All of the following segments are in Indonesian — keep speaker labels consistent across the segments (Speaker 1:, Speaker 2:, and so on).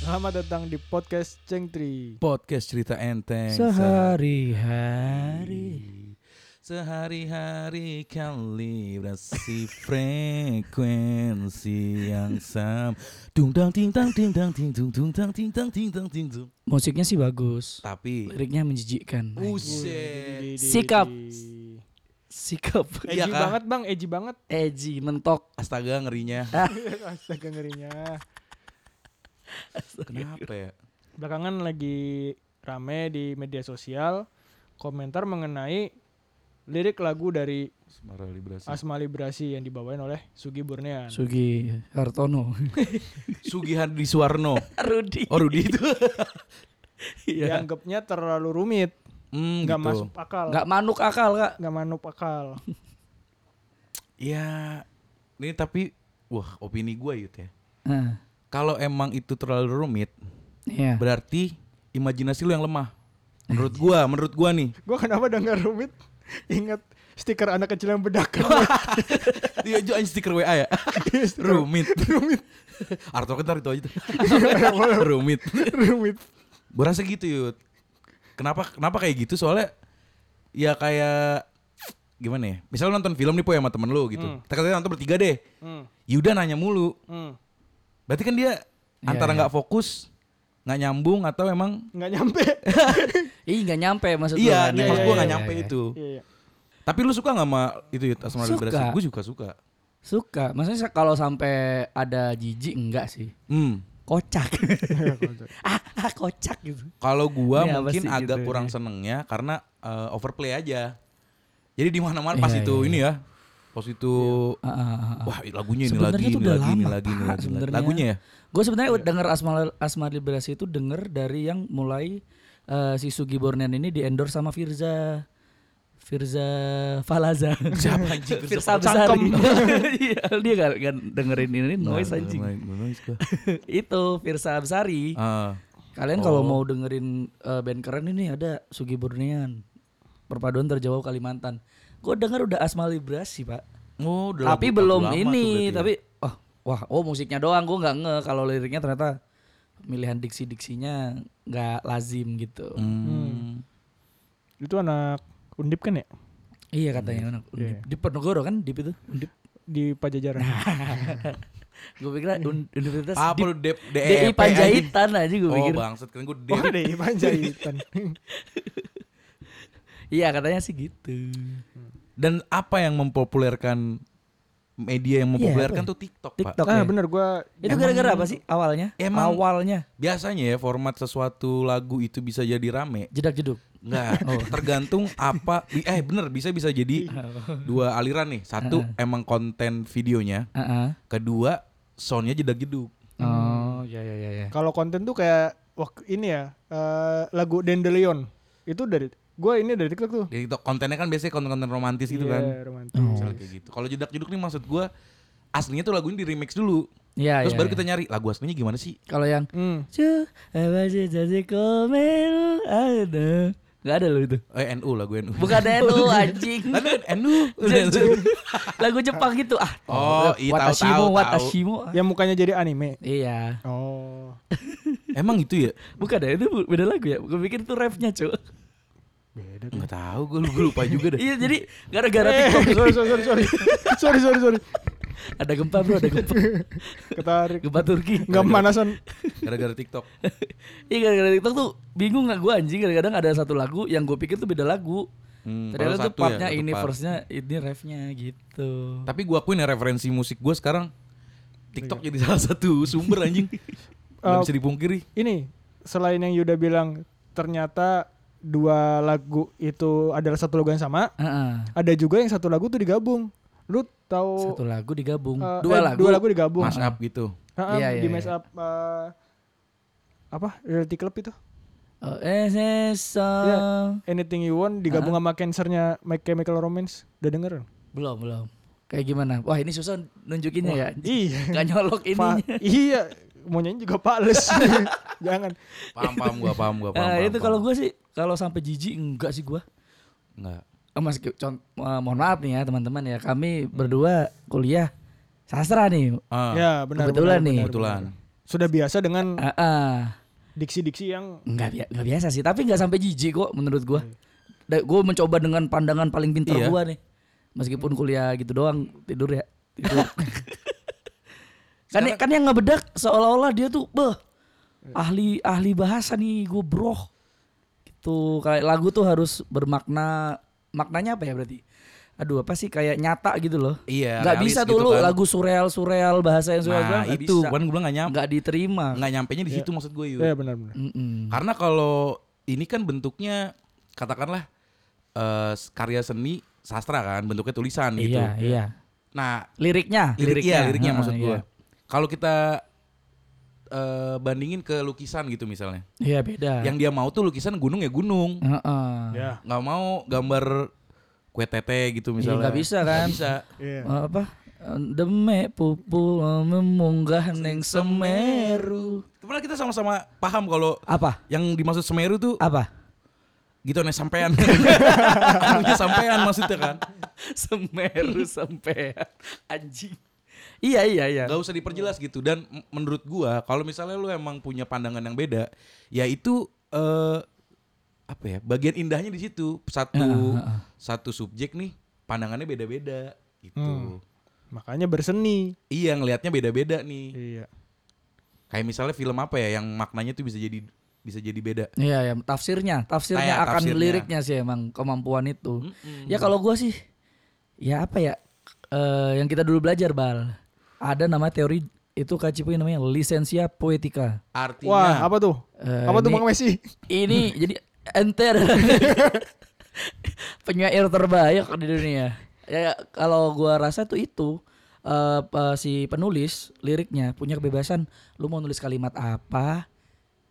Speaker 1: Selamat datang di podcast Ceng Tri.
Speaker 2: Podcast cerita enteng
Speaker 3: Sehari-hari
Speaker 2: Sehari-hari kalibrasi frekuensi yang sama Dung dang ting dang ting dang ting dung dung dang ting dang ting dang ting dung
Speaker 3: Musiknya sih bagus
Speaker 2: Tapi
Speaker 3: Liriknya menjijikkan
Speaker 2: Buset
Speaker 3: Sikap. Sikap
Speaker 1: Edgy
Speaker 2: Iya kah?
Speaker 1: banget bang, edgy banget.
Speaker 3: Eji mentok
Speaker 2: Astaga ngerinya
Speaker 1: Astaga ngerinya.
Speaker 2: Kenapa ya?
Speaker 1: Belakangan lagi rame di media sosial komentar mengenai lirik lagu dari
Speaker 2: Semara librasi
Speaker 1: Asma Librasi yang dibawain oleh Sugi Burnian.
Speaker 3: Sugi Hartono
Speaker 2: Sugi Hadi Suwarno
Speaker 3: Rudi
Speaker 2: Oh Rudi itu
Speaker 3: Iya.
Speaker 1: Dianggapnya terlalu rumit,
Speaker 2: Hmm
Speaker 1: nggak
Speaker 2: gitu
Speaker 1: masuk akal,
Speaker 3: Nggak manuk akal kak
Speaker 1: nggak manup akal.
Speaker 2: Ya Ini tapi Wah opini gue Yud ya
Speaker 3: Nah,
Speaker 2: Kalau emang itu terlalu rumit
Speaker 3: Iya
Speaker 2: Berarti imajinasi lu yang lemah. Menurut gua, menurut gua nih.
Speaker 1: Gue kenapa dengar rumit? Ingat stiker anak kecil yang bedakan.
Speaker 2: Iya, jualan stiker WA ya. rumit. Rumit. Arto kan itu aja tuh. rumit.
Speaker 1: rumit.
Speaker 2: Gua rasa gitu, Yud. Kenapa kenapa kayak gitu? Soalnya ya kayak gimana ya? Misal lu nonton film nih po ya sama temen lu gitu.
Speaker 1: Hmm.
Speaker 2: Kita katanya nonton bertiga deh.
Speaker 1: Hmm,
Speaker 2: Yuda nanya mulu.
Speaker 1: hmm.
Speaker 2: Berarti kan dia antara
Speaker 3: iya.
Speaker 2: nggak fokus, nggak nyambung atau emang
Speaker 1: Nggak nyampe.
Speaker 3: Ih nggak nyampe maksud lu
Speaker 2: Iya,
Speaker 3: kan?
Speaker 2: nih
Speaker 1: iya,
Speaker 2: maksud gua
Speaker 1: iya,
Speaker 2: nggak
Speaker 1: iya,
Speaker 2: nyampe
Speaker 3: iya.
Speaker 2: itu.
Speaker 1: Iya, iya.
Speaker 2: Tapi lu suka nggak sama itu Yud, Asmara
Speaker 3: Suka.
Speaker 2: Liberasi? Gue juga suka.
Speaker 3: Suka Maksudnya sa- kalau sampai ada jijik enggak sih
Speaker 2: Hmm.
Speaker 3: Kocak ah, ah kocak gitu
Speaker 2: Kalau gua
Speaker 3: Iya,
Speaker 2: mungkin
Speaker 3: pasti
Speaker 2: agak
Speaker 3: gitu,
Speaker 2: kurang
Speaker 3: iya.
Speaker 2: senengnya karena eh, overplay aja. Jadi di mana-mana pas
Speaker 3: Iya,
Speaker 2: itu
Speaker 3: iya,
Speaker 2: ini ya. Pas itu
Speaker 3: Ah, ah, ah, ah.
Speaker 2: wah lagunya ini
Speaker 3: Sebenarnya
Speaker 2: lagi
Speaker 3: tuh
Speaker 2: ini
Speaker 3: udah
Speaker 2: lagi ini lagi ini
Speaker 3: lama, Pak,
Speaker 2: lagi. ini lagi.
Speaker 3: sebenarnya.
Speaker 2: Lagunya ya?
Speaker 3: Gue sebenarnya denger Asma Asma Liberasi itu denger dari yang mulai eh, si Sugi Bornen ini di endorse sama Firza Firza Falaza.
Speaker 2: Siapa anjing
Speaker 3: Firza Besari.
Speaker 2: Cangkem.
Speaker 3: Iya, Dia gak, gak dengerin ini noise anjing.
Speaker 2: Nah, noise gua.
Speaker 3: itu Firza Besari.
Speaker 2: Ah,
Speaker 3: Kalian kalau mau dengerin eh, band keren ini ada Sugi Bornean. Perpaduan terjawab Kalimantan. Gue denger udah Asma Liberasi, Pak.
Speaker 2: oh, udah
Speaker 3: tapi
Speaker 2: lagu-
Speaker 3: belum
Speaker 2: lagu lama tuh berarti
Speaker 3: ini
Speaker 2: ya.
Speaker 3: tapi oh, wah oh musiknya doang gue nggak nge kalau liriknya ternyata pemilihan diksi diksinya nggak lazim gitu
Speaker 2: Hmm.
Speaker 1: Itu anak undip kan ya?
Speaker 3: iya katanya anak undip
Speaker 1: Iya.
Speaker 3: di Penogoro kan dip itu undip
Speaker 1: Di Pajajaran.
Speaker 3: gue pikir universitas
Speaker 2: Apa
Speaker 3: dip
Speaker 2: lu Dep-
Speaker 3: DI
Speaker 2: DEP,
Speaker 3: E Panjaitan aja gue
Speaker 2: anjing?
Speaker 3: pikir
Speaker 2: E Oh, bangsat kan gua
Speaker 1: Oh,
Speaker 2: DEP.
Speaker 1: deh, Panjaitan.
Speaker 3: iya katanya sih gitu
Speaker 2: Dan apa yang mempopulerkan media yang mempopulerkan tuh TikTok, Pak.
Speaker 3: Iya, ya? TikTok
Speaker 1: ah,
Speaker 3: ya?
Speaker 1: bener gua
Speaker 3: itu gara-gara apa sih awalnya
Speaker 2: Emang-
Speaker 3: awalnya
Speaker 2: Biasanya ya format sesuatu lagu itu bisa jadi rame
Speaker 3: jedak jeduk
Speaker 2: Enggak,
Speaker 3: Oh.
Speaker 2: tergantung apa bi- eh bener bisa bisa jadi dua aliran nih. Satu emang konten videonya,
Speaker 3: Heeh.
Speaker 2: kedua soundnya jedak jeduk.
Speaker 3: oh ya ya ya ya
Speaker 1: kalau konten tuh kayak waktu ini ya, eh, lagu Dandelion. Itu dari gua ini dari TikTok tuh.
Speaker 2: Jadi to- kontennya kan biasanya konten-konten romantis gitu
Speaker 1: Iya,
Speaker 2: kan.
Speaker 1: romantis.
Speaker 2: Misalnya kayak gitu. Kalau jedak jeduk nih maksud gua aslinya tuh lagunya di remix dulu.
Speaker 3: ya
Speaker 2: Terus
Speaker 3: ya,
Speaker 2: baru
Speaker 3: ya.
Speaker 2: kita nyari lagu aslinya gimana sih?
Speaker 3: kalau yang
Speaker 1: Hmm.
Speaker 3: Cu, apa sih jadi komen ada nggak ada loh itu
Speaker 2: Eh NU lagu NU.
Speaker 3: Bukan NU anjing.
Speaker 2: Tapi kan NU.
Speaker 3: Lagu Jepang gitu ah.
Speaker 2: Oh, iya, tahu,
Speaker 3: Watashimo,
Speaker 2: tahu,
Speaker 3: Watashimo.
Speaker 1: Yang mukanya jadi anime.
Speaker 3: Iya.
Speaker 1: Oh.
Speaker 2: Emang gitu ya?
Speaker 3: Bukan ya itu bu- beda lagu ya. Gue pikir itu rapnya, Cuk.
Speaker 1: Beda.
Speaker 2: Enggak tahu gua, gua lupa juga deh.
Speaker 3: Iya, jadi gara-gara
Speaker 1: Eh,
Speaker 3: TikTok
Speaker 1: sorry, sorry, sorry, sorry. sorry, sorry, sorry.
Speaker 3: ada gempa, Bro, ada gempa.
Speaker 1: Ketarik.
Speaker 3: Gempa Turki.
Speaker 1: Enggak pemanasan.
Speaker 2: Gara-gara TikTok.
Speaker 3: Iya, gara-gara TikTok tuh bingung gak gue anjing kadang-kadang ada satu lagu yang gue pikir tuh beda lagu.
Speaker 2: Hmm, baru
Speaker 3: Ternyata tuh
Speaker 2: satu ya,
Speaker 3: partnya
Speaker 2: satu
Speaker 3: ini,
Speaker 2: part.
Speaker 3: verse-nya ini, refnya gitu.
Speaker 2: Tapi gua akuin ya referensi musik gua sekarang TikTok jadi salah satu sumber anjing. Gak
Speaker 1: Iya. Eh,
Speaker 2: bisa dipungkiri.
Speaker 1: ini selain yang Yuda bilang ternyata dua lagu itu adalah satu lagu yang sama,
Speaker 2: Oh.
Speaker 3: Heeh.
Speaker 1: ada juga yang satu lagu tuh digabung. Lu tahu
Speaker 3: Satu lagu digabung,
Speaker 1: eh,
Speaker 3: dua
Speaker 1: eh,
Speaker 3: lagu.
Speaker 1: dua lagu digabung.
Speaker 2: Mas up gitu.
Speaker 1: Ha-ha,
Speaker 3: Iya, iya,
Speaker 1: di
Speaker 3: iya.
Speaker 1: mess up eh, apa? Reality Club itu.
Speaker 3: Oh, eh, eh, so-
Speaker 1: Iya. Anything You Want digabung sama cancernya My Chemical Romance. Udah denger?
Speaker 3: Belum, belum. Kayak gimana? Wah, ini susah nunjukinnya ya.
Speaker 1: Iya.
Speaker 3: Gak nyolok
Speaker 1: Fa-
Speaker 3: ininya.
Speaker 1: iya, mau nyanyi juga pales. Jangan.
Speaker 2: Paham paham gua paham gua paham.
Speaker 3: Eh,
Speaker 2: paham,
Speaker 3: itu
Speaker 2: paham.
Speaker 3: kalau gue sih kalau sampai jijik enggak sih gua.
Speaker 2: enggak.
Speaker 3: Eh, Mas con- eh, mohon maaf nih ya teman-teman ya. Kami berdua kuliah sastra nih.
Speaker 2: Ah,
Speaker 1: Ya, benar. benar,
Speaker 3: Kebetulan Ah. nih.
Speaker 1: benar,
Speaker 2: kebetulan.
Speaker 1: benar. Sudah biasa dengan
Speaker 3: Ah, ah.
Speaker 1: diksi-diksi yang
Speaker 3: nggak bia- nggak biasa sih tapi nggak sampai jijik kok menurut gua Da- gua mencoba dengan pandangan paling
Speaker 2: Hmm.
Speaker 3: pintar
Speaker 2: Iya. Hmm.
Speaker 3: gua nih meskipun kuliah gitu doang tidur ya tidur. kan kan yang nggak bedak seolah-olah dia tuh beh
Speaker 2: Hmm.
Speaker 3: ahli ahli bahasa nih gua bro gitu kayak lagu tuh harus bermakna maknanya apa ya berarti aduh apa sih kayak nyata gitu loh
Speaker 2: Iya,
Speaker 3: nggak
Speaker 2: realis
Speaker 3: bisa
Speaker 2: gitu
Speaker 3: tuh lu
Speaker 2: kan.
Speaker 3: lagu surreal surreal bahasa yang surreal
Speaker 2: Nah, itu Nah. kan gue bilang gak nyampe.
Speaker 3: nggak diterima
Speaker 2: Nggak nyampenya di situ maksud gue, Yud.
Speaker 3: Iya.
Speaker 1: ya benar-benar.
Speaker 3: Mm-mm.
Speaker 2: Karena kalau ini kan bentuknya katakanlah eh, karya seni sastra kan, bentuknya tulisan gitu.
Speaker 3: iya iya
Speaker 2: Nah,
Speaker 3: liriknya
Speaker 2: lirik, iya, liriknya
Speaker 3: Heeh,
Speaker 2: maksud
Speaker 3: iya.
Speaker 2: gue. Kalau kita eh, bandingin ke lukisan gitu misalnya.
Speaker 3: iya beda
Speaker 2: Yang dia mau tuh lukisan gunung ya gunung.
Speaker 3: Heeh.
Speaker 1: Ya.
Speaker 2: Nggak mau gambar kue tete gitu
Speaker 3: Iya,
Speaker 2: misalnya.
Speaker 3: nggak bisa kan
Speaker 2: bisa.
Speaker 1: Iya.
Speaker 3: Eh, apa demek pupu memunggah neng semeru
Speaker 2: Padahal kita sama-sama paham kalau
Speaker 3: apa
Speaker 2: yang dimaksud Semeru tuh
Speaker 3: apa
Speaker 2: gitu nih sampean. Anunya sampean maksudnya kan.
Speaker 3: semeru sampean anjing iya iya iya
Speaker 2: Gak usah diperjelas gitu dan m- menurut gua kalau misalnya lu emang punya pandangan yang beda, ya itu eh apa ya? Bagian indahnya di situ.
Speaker 1: Iya,
Speaker 2: Satu
Speaker 3: Heeh, heeh.
Speaker 2: satu subjek nih pandangannya beda-beda gitu.
Speaker 1: Hmm. Makanya berseni.
Speaker 2: Iya, ngelihatnya beda-beda nih.
Speaker 1: Iya.
Speaker 2: Kayak misalnya film apa ya yang maknanya tuh bisa jadi bisa jadi beda.
Speaker 3: iya iya tafsirnya tafsirnya
Speaker 2: Kayak
Speaker 3: akan
Speaker 2: tafsirnya.
Speaker 3: liriknya sih emang kemampuan itu ya kalau gua sih ya apa ya eh, yang kita dulu belajar bal ada nama teori itu kacipuin namanya lisensia poetica
Speaker 2: Artinya
Speaker 1: Wah, apa tuh?
Speaker 3: Iya. Eh,
Speaker 1: apa tuh
Speaker 3: ini-
Speaker 1: Bang Messi?
Speaker 3: ini jadi enter penyair terbaik di dunia ya kalau gua rasa tuh itu eh, pe- si penulis liriknya punya kebebasan lu mau nulis kalimat apa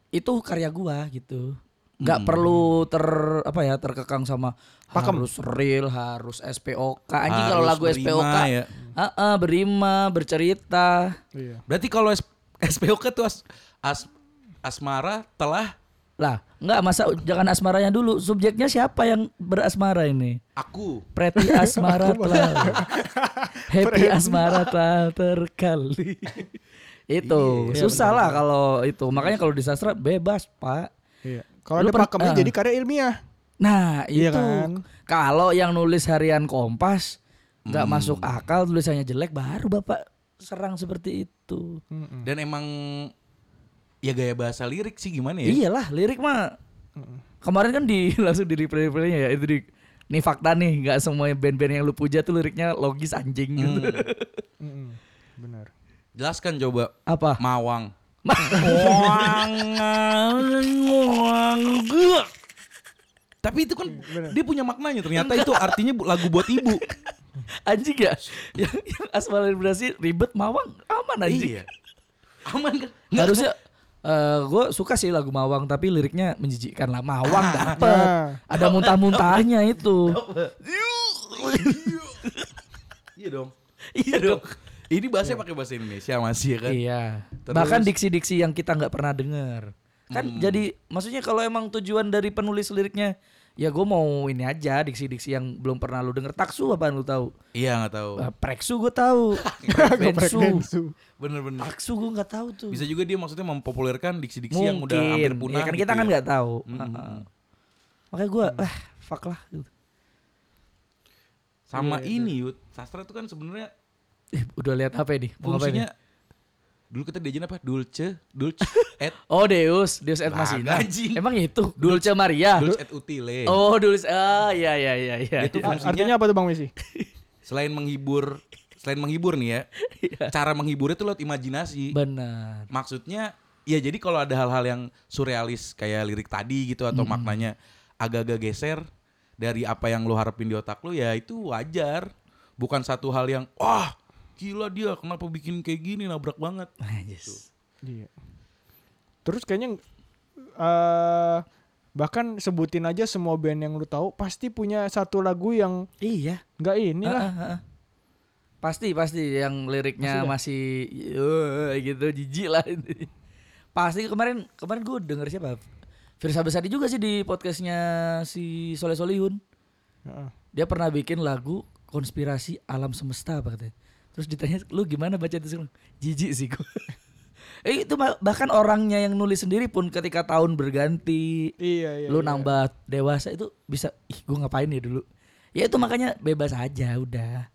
Speaker 3: itu karya gua gitu nggak
Speaker 2: Hmm.
Speaker 3: perlu ter apa ya terkekang sama harus real harus SPOK anjing kalau
Speaker 2: Harus
Speaker 3: lagu
Speaker 2: berima
Speaker 3: SPOK
Speaker 2: ya.
Speaker 3: Heeh, berima bercerita
Speaker 1: Iya.
Speaker 2: Berarti kalau S- SPOK tuh as- as- asmara telah
Speaker 3: lah nggak masa jangan asmaranya dulu subjeknya siapa yang berasmara ini
Speaker 2: aku.
Speaker 3: Preti asmara telah Happy asmara telah terkali
Speaker 1: Iya,
Speaker 3: Itu Susah lah kalau itu Makanya kalau di sastra bebas pak
Speaker 1: Iya. Kalau
Speaker 3: Lu
Speaker 1: ada
Speaker 3: per-
Speaker 1: pakemnya
Speaker 3: ah.
Speaker 1: jadi karya ilmiah.
Speaker 3: Nah
Speaker 1: Iya
Speaker 3: itu
Speaker 1: kan?
Speaker 3: Kalau yang nulis harian kompas nggak
Speaker 1: Hmm.
Speaker 3: masuk akal tulisannya jelek Baru bapak serang seperti itu
Speaker 1: Mm-mm.
Speaker 2: Dan emang ya gaya bahasa lirik sih gimana
Speaker 1: Iya.
Speaker 2: ya?
Speaker 3: Iyalah lirik mah
Speaker 1: Hmm.
Speaker 3: Kemarin kan di langsung di replay-replaynya ya Itu di Nih fakta nih nggak semua band-band yang lu puja tuh liriknya logis anjing gitu
Speaker 1: Hmm. Mm-mm. Benar.
Speaker 2: Jelaskan coba
Speaker 3: Apa?
Speaker 2: Mawang.
Speaker 1: Hmm.
Speaker 3: Ma-
Speaker 2: Tapi itu kan dia punya maknanya ternyata itu artinya bu- lagu buat ibu.
Speaker 3: Anjing ya yang, yang asmal liberasi ribet mawang aman
Speaker 2: iya.
Speaker 3: anjing.
Speaker 2: Aman kan?
Speaker 3: Harusnya gue suka sih lagu Mawang tapi liriknya menjijikkan lah Mawang dapet
Speaker 1: Nah.
Speaker 3: ada muntah-muntahnya itu
Speaker 2: Iya dong.
Speaker 3: iya dong
Speaker 2: Ini bahasanya pakai bahasa Indonesia masih ya kan?
Speaker 3: iya
Speaker 2: Terus-
Speaker 3: bahkan diksi-diksi yang kita nggak pernah dengar kan jadi maksudnya kalau emang tujuan dari penulis liriknya ya gue mau ini aja diksi-diksi yang belum pernah lu denger taksu apaan lu tahu
Speaker 2: Iya nggak tahu.
Speaker 3: Eh, preksu gue tahu
Speaker 1: Geprek
Speaker 3: Bensu
Speaker 1: bensu.
Speaker 2: Bener-bener.
Speaker 3: taksu gue nggak tahu tuh
Speaker 2: Bisa juga dia maksudnya mempopulerkan diksi-diksi yang udah hampir punah.
Speaker 3: ya kan
Speaker 2: gitu
Speaker 3: kita kan
Speaker 2: ya.
Speaker 3: nggak tahu
Speaker 2: Mm-mm.
Speaker 3: Heeh. makanya gue ah fuck lah gitu.
Speaker 2: Sama ini Yud, sastra itu kan sebenarnya
Speaker 3: Ih, udah lihat HP nih mau ngapain
Speaker 2: fungsinya
Speaker 3: nih?
Speaker 2: dulu kita diajarin apa? Dulce, dulce et
Speaker 3: oh Deus Deus et
Speaker 2: Lah,
Speaker 3: Masina
Speaker 2: anjing.
Speaker 3: emang itu Dulce Maria
Speaker 2: dulce et utile.
Speaker 3: oh Dulce ah ya ya ya ya
Speaker 2: Itu
Speaker 1: A-
Speaker 2: fungsinya
Speaker 1: Artinya apa tuh Bang Messi?
Speaker 2: selain menghibur, selain menghibur nih ya.
Speaker 3: Iya.
Speaker 2: cara menghiburnya tuh lewat imajinasi.
Speaker 3: benar
Speaker 2: Maksudnya ya jadi kalau ada hal-hal yang surrealis kayak lirik tadi gitu
Speaker 3: Hmm.
Speaker 2: atau maknanya agak-agak geser dari apa yang lo harapin di otak lo ya itu wajar. Bukan satu hal yang wah gila dia kenapa bikin kayak gini nabrak banget.
Speaker 3: Ah, yes.
Speaker 1: Iya. Terus kayaknya eh bahkan sebutin aja semua band yang lu tahu pasti punya satu lagu yang
Speaker 3: iya
Speaker 1: nggak ini lah.
Speaker 3: Ah, ah, ah. pasti pasti yang liriknya masih "Eh," gitu jijik lah ini. pasti kemarin kemarin gue denger siapa Firsa Besari juga sih di podcastnya si Soleh Solihun
Speaker 1: Heeh.
Speaker 3: dia pernah bikin lagu konspirasi alam semesta apa katanya terus ditanya lu gimana baca itu Terus dia bilang, jijik sih gue Eh, itu bah- bahkan orangnya yang nulis sendiri pun ketika tahun berganti,
Speaker 1: Iya iya.
Speaker 3: lu
Speaker 1: iya.
Speaker 3: nambah dewasa itu bisa ih gue ngapain ya dulu. Ya itu makanya bebas aja udah.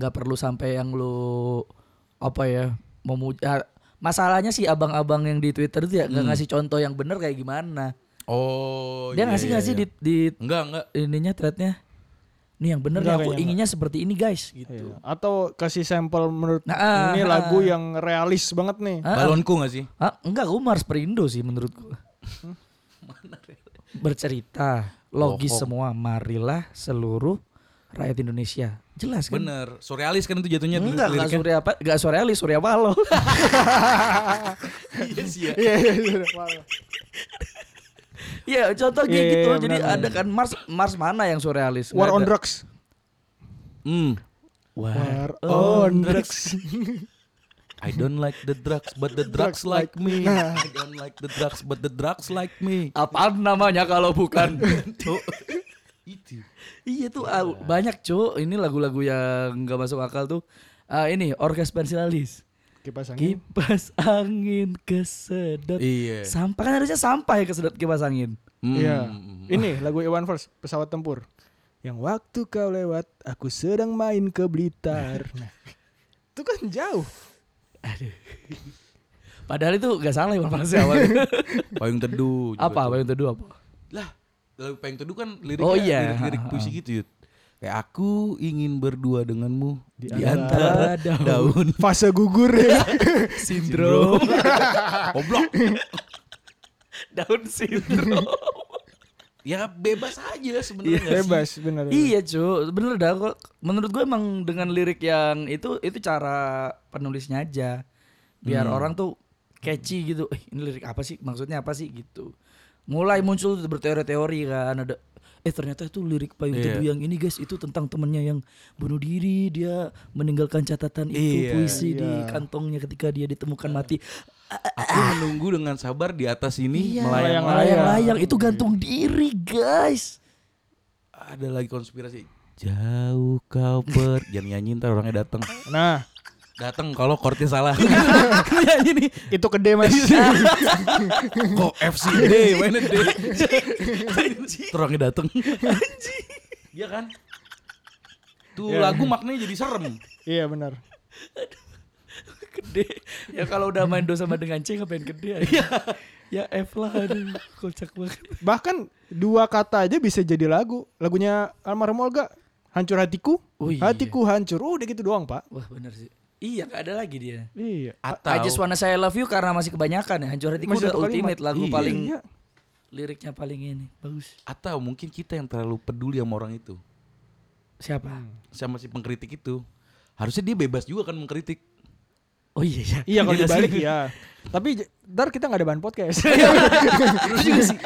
Speaker 3: nggak perlu sampai yang lu apa ya memuja masalahnya si abang-abang yang di Twitter itu ya
Speaker 1: Hmm.
Speaker 3: nggak ngasih contoh yang bener kayak gimana.
Speaker 2: Oh.
Speaker 1: iya,
Speaker 3: Dia ngasih ngasih di, di
Speaker 2: Enggak, enggak.
Speaker 3: ininya threadnya nih yang bener
Speaker 1: Enggak,
Speaker 3: nih aku
Speaker 1: kayaknya
Speaker 3: inginnya seperti ini guys
Speaker 1: Iya.
Speaker 3: gitu
Speaker 1: Atau kasih sampel menurut
Speaker 3: Nah, ah,
Speaker 1: ini
Speaker 3: ah,
Speaker 1: lagu
Speaker 3: ah.
Speaker 1: yang realis banget nih.
Speaker 3: Ah,
Speaker 2: Balonku enggak sih?
Speaker 3: ah enggak gue Mars Perindo sih menurut gue bercerita logis
Speaker 2: Bohong.
Speaker 3: semua marilah seluruh rakyat Indonesia jelas kan
Speaker 2: Bener. Surrealis kan itu jatuhnya dulu
Speaker 3: enggak enggak
Speaker 2: liriknya.
Speaker 3: surya apa enggak surya ali surya palo
Speaker 2: Iya sih ya.
Speaker 1: Iya iya iya. Parah.
Speaker 3: Iya contoh
Speaker 1: Iya,
Speaker 3: kayak
Speaker 1: iya,
Speaker 3: gitu
Speaker 1: iya,
Speaker 3: jadi
Speaker 1: benar,
Speaker 3: ada kan Mars Mars mana yang surrealis
Speaker 1: War
Speaker 3: Nggak
Speaker 1: on
Speaker 3: ada.
Speaker 1: drugs.
Speaker 2: Hmm.
Speaker 3: War.
Speaker 1: War on drugs.
Speaker 2: I don't like the drugs but the drugs like me. I don't like the drugs but the drugs like me.
Speaker 3: apaan namanya kalau bukan
Speaker 2: Tuh. Itu.
Speaker 3: Iya tuh ah, banyak cu Ini lagu-lagu yang nggak masuk akal tuh Ah, Ini Orkes Pensilalis
Speaker 1: Kipas angin.
Speaker 3: Kipas angin kesedot
Speaker 2: Iya.
Speaker 3: Sampah kan harusnya sampah ya kesedot kipas angin
Speaker 2: Hmm.
Speaker 1: Iya. Ini lagu Iwan Fals pesawat tempur. Yang waktu kau lewat, aku sedang main ke Blitar. Nah, itu kan jauh.
Speaker 3: Padahal itu gak salah Iwan Fals ya awalnya.
Speaker 2: Payung teduh. juga
Speaker 3: Apa?
Speaker 2: tuh.
Speaker 3: Yang teduh apa?
Speaker 2: Lah, lagu Payung Teduh kan liriknya
Speaker 3: Oh, iya.
Speaker 2: lirik-lirik puisi gitu, Yud. Kayak aku ingin berdua denganmu di,
Speaker 3: antara
Speaker 2: antara daun
Speaker 1: Fase gugur ya.
Speaker 3: Sindrom
Speaker 2: Goblok.
Speaker 3: Down syndrome
Speaker 2: ya bebas aja sebenarnya. Iya nggak sih?
Speaker 1: Bebas benar.
Speaker 3: Iya cu Bener dah kok. Menurut gue emang dengan lirik yang itu Itu cara penulisnya aja Biar
Speaker 2: Hmm.
Speaker 3: orang tuh catchy gitu eh, Ini lirik apa sih? Maksudnya apa sih? gitu Mulai muncul berteori-teori kan ada Eh ternyata itu lirik payung
Speaker 2: Iya.
Speaker 3: teduh yang ini guys Itu tentang temennya yang bunuh diri Dia meninggalkan catatan
Speaker 2: Iya,
Speaker 3: itu Puisi di
Speaker 1: iya.
Speaker 3: kantongnya ketika dia ditemukan mati
Speaker 2: Aku menunggu dengan sabar di atas ini
Speaker 3: Iya,
Speaker 2: melayang.
Speaker 3: layang-layang itu gantung diri, guys.
Speaker 2: Ada lagi konspirasi. Jauh kau per jangan nyanyiin ntar orangnya datang.
Speaker 1: Nah,
Speaker 2: Datang kalau chordnya salah.
Speaker 3: Iya, ini
Speaker 1: itu kede Mas.
Speaker 2: Kok FCD mainnya D. Ntar orangnya datang. Iya kan? Tuh
Speaker 1: Iya.
Speaker 2: lagu maknanya jadi serem.
Speaker 1: iya benar.
Speaker 3: gede. Ya kalau udah main do sama dengan C ngapain gede aja. ya F lah aduh, kocak banget.
Speaker 1: Bahkan dua kata aja bisa jadi lagu. Lagunya almarhum Olga, hancur hatiku,
Speaker 3: Oh, iya.
Speaker 1: hatiku hancur. Oh, udah gitu doang, Pak.
Speaker 3: Wah, benar sih. Iya, gak ada lagi dia.
Speaker 1: Iya.
Speaker 2: Atau
Speaker 3: I just wanna say I love you karena masih kebanyakan ya. Hancur hatiku
Speaker 1: Masih
Speaker 3: udah
Speaker 1: satu kalimat.
Speaker 3: ultimate lagu
Speaker 2: Iya.
Speaker 3: paling
Speaker 1: Iya.
Speaker 3: liriknya paling ini. Bagus.
Speaker 2: atau mungkin kita yang terlalu peduli sama orang itu.
Speaker 3: Siapa?
Speaker 2: Sama si pengkritik itu. Harusnya dia bebas juga kan mengkritik.
Speaker 3: Oh iya ya.
Speaker 1: Iya kalau
Speaker 2: Iya
Speaker 1: dibalik
Speaker 2: sih.
Speaker 1: ya. Tapi j- ntar kita nggak ada bahan podcast.
Speaker 2: Terus juga sih.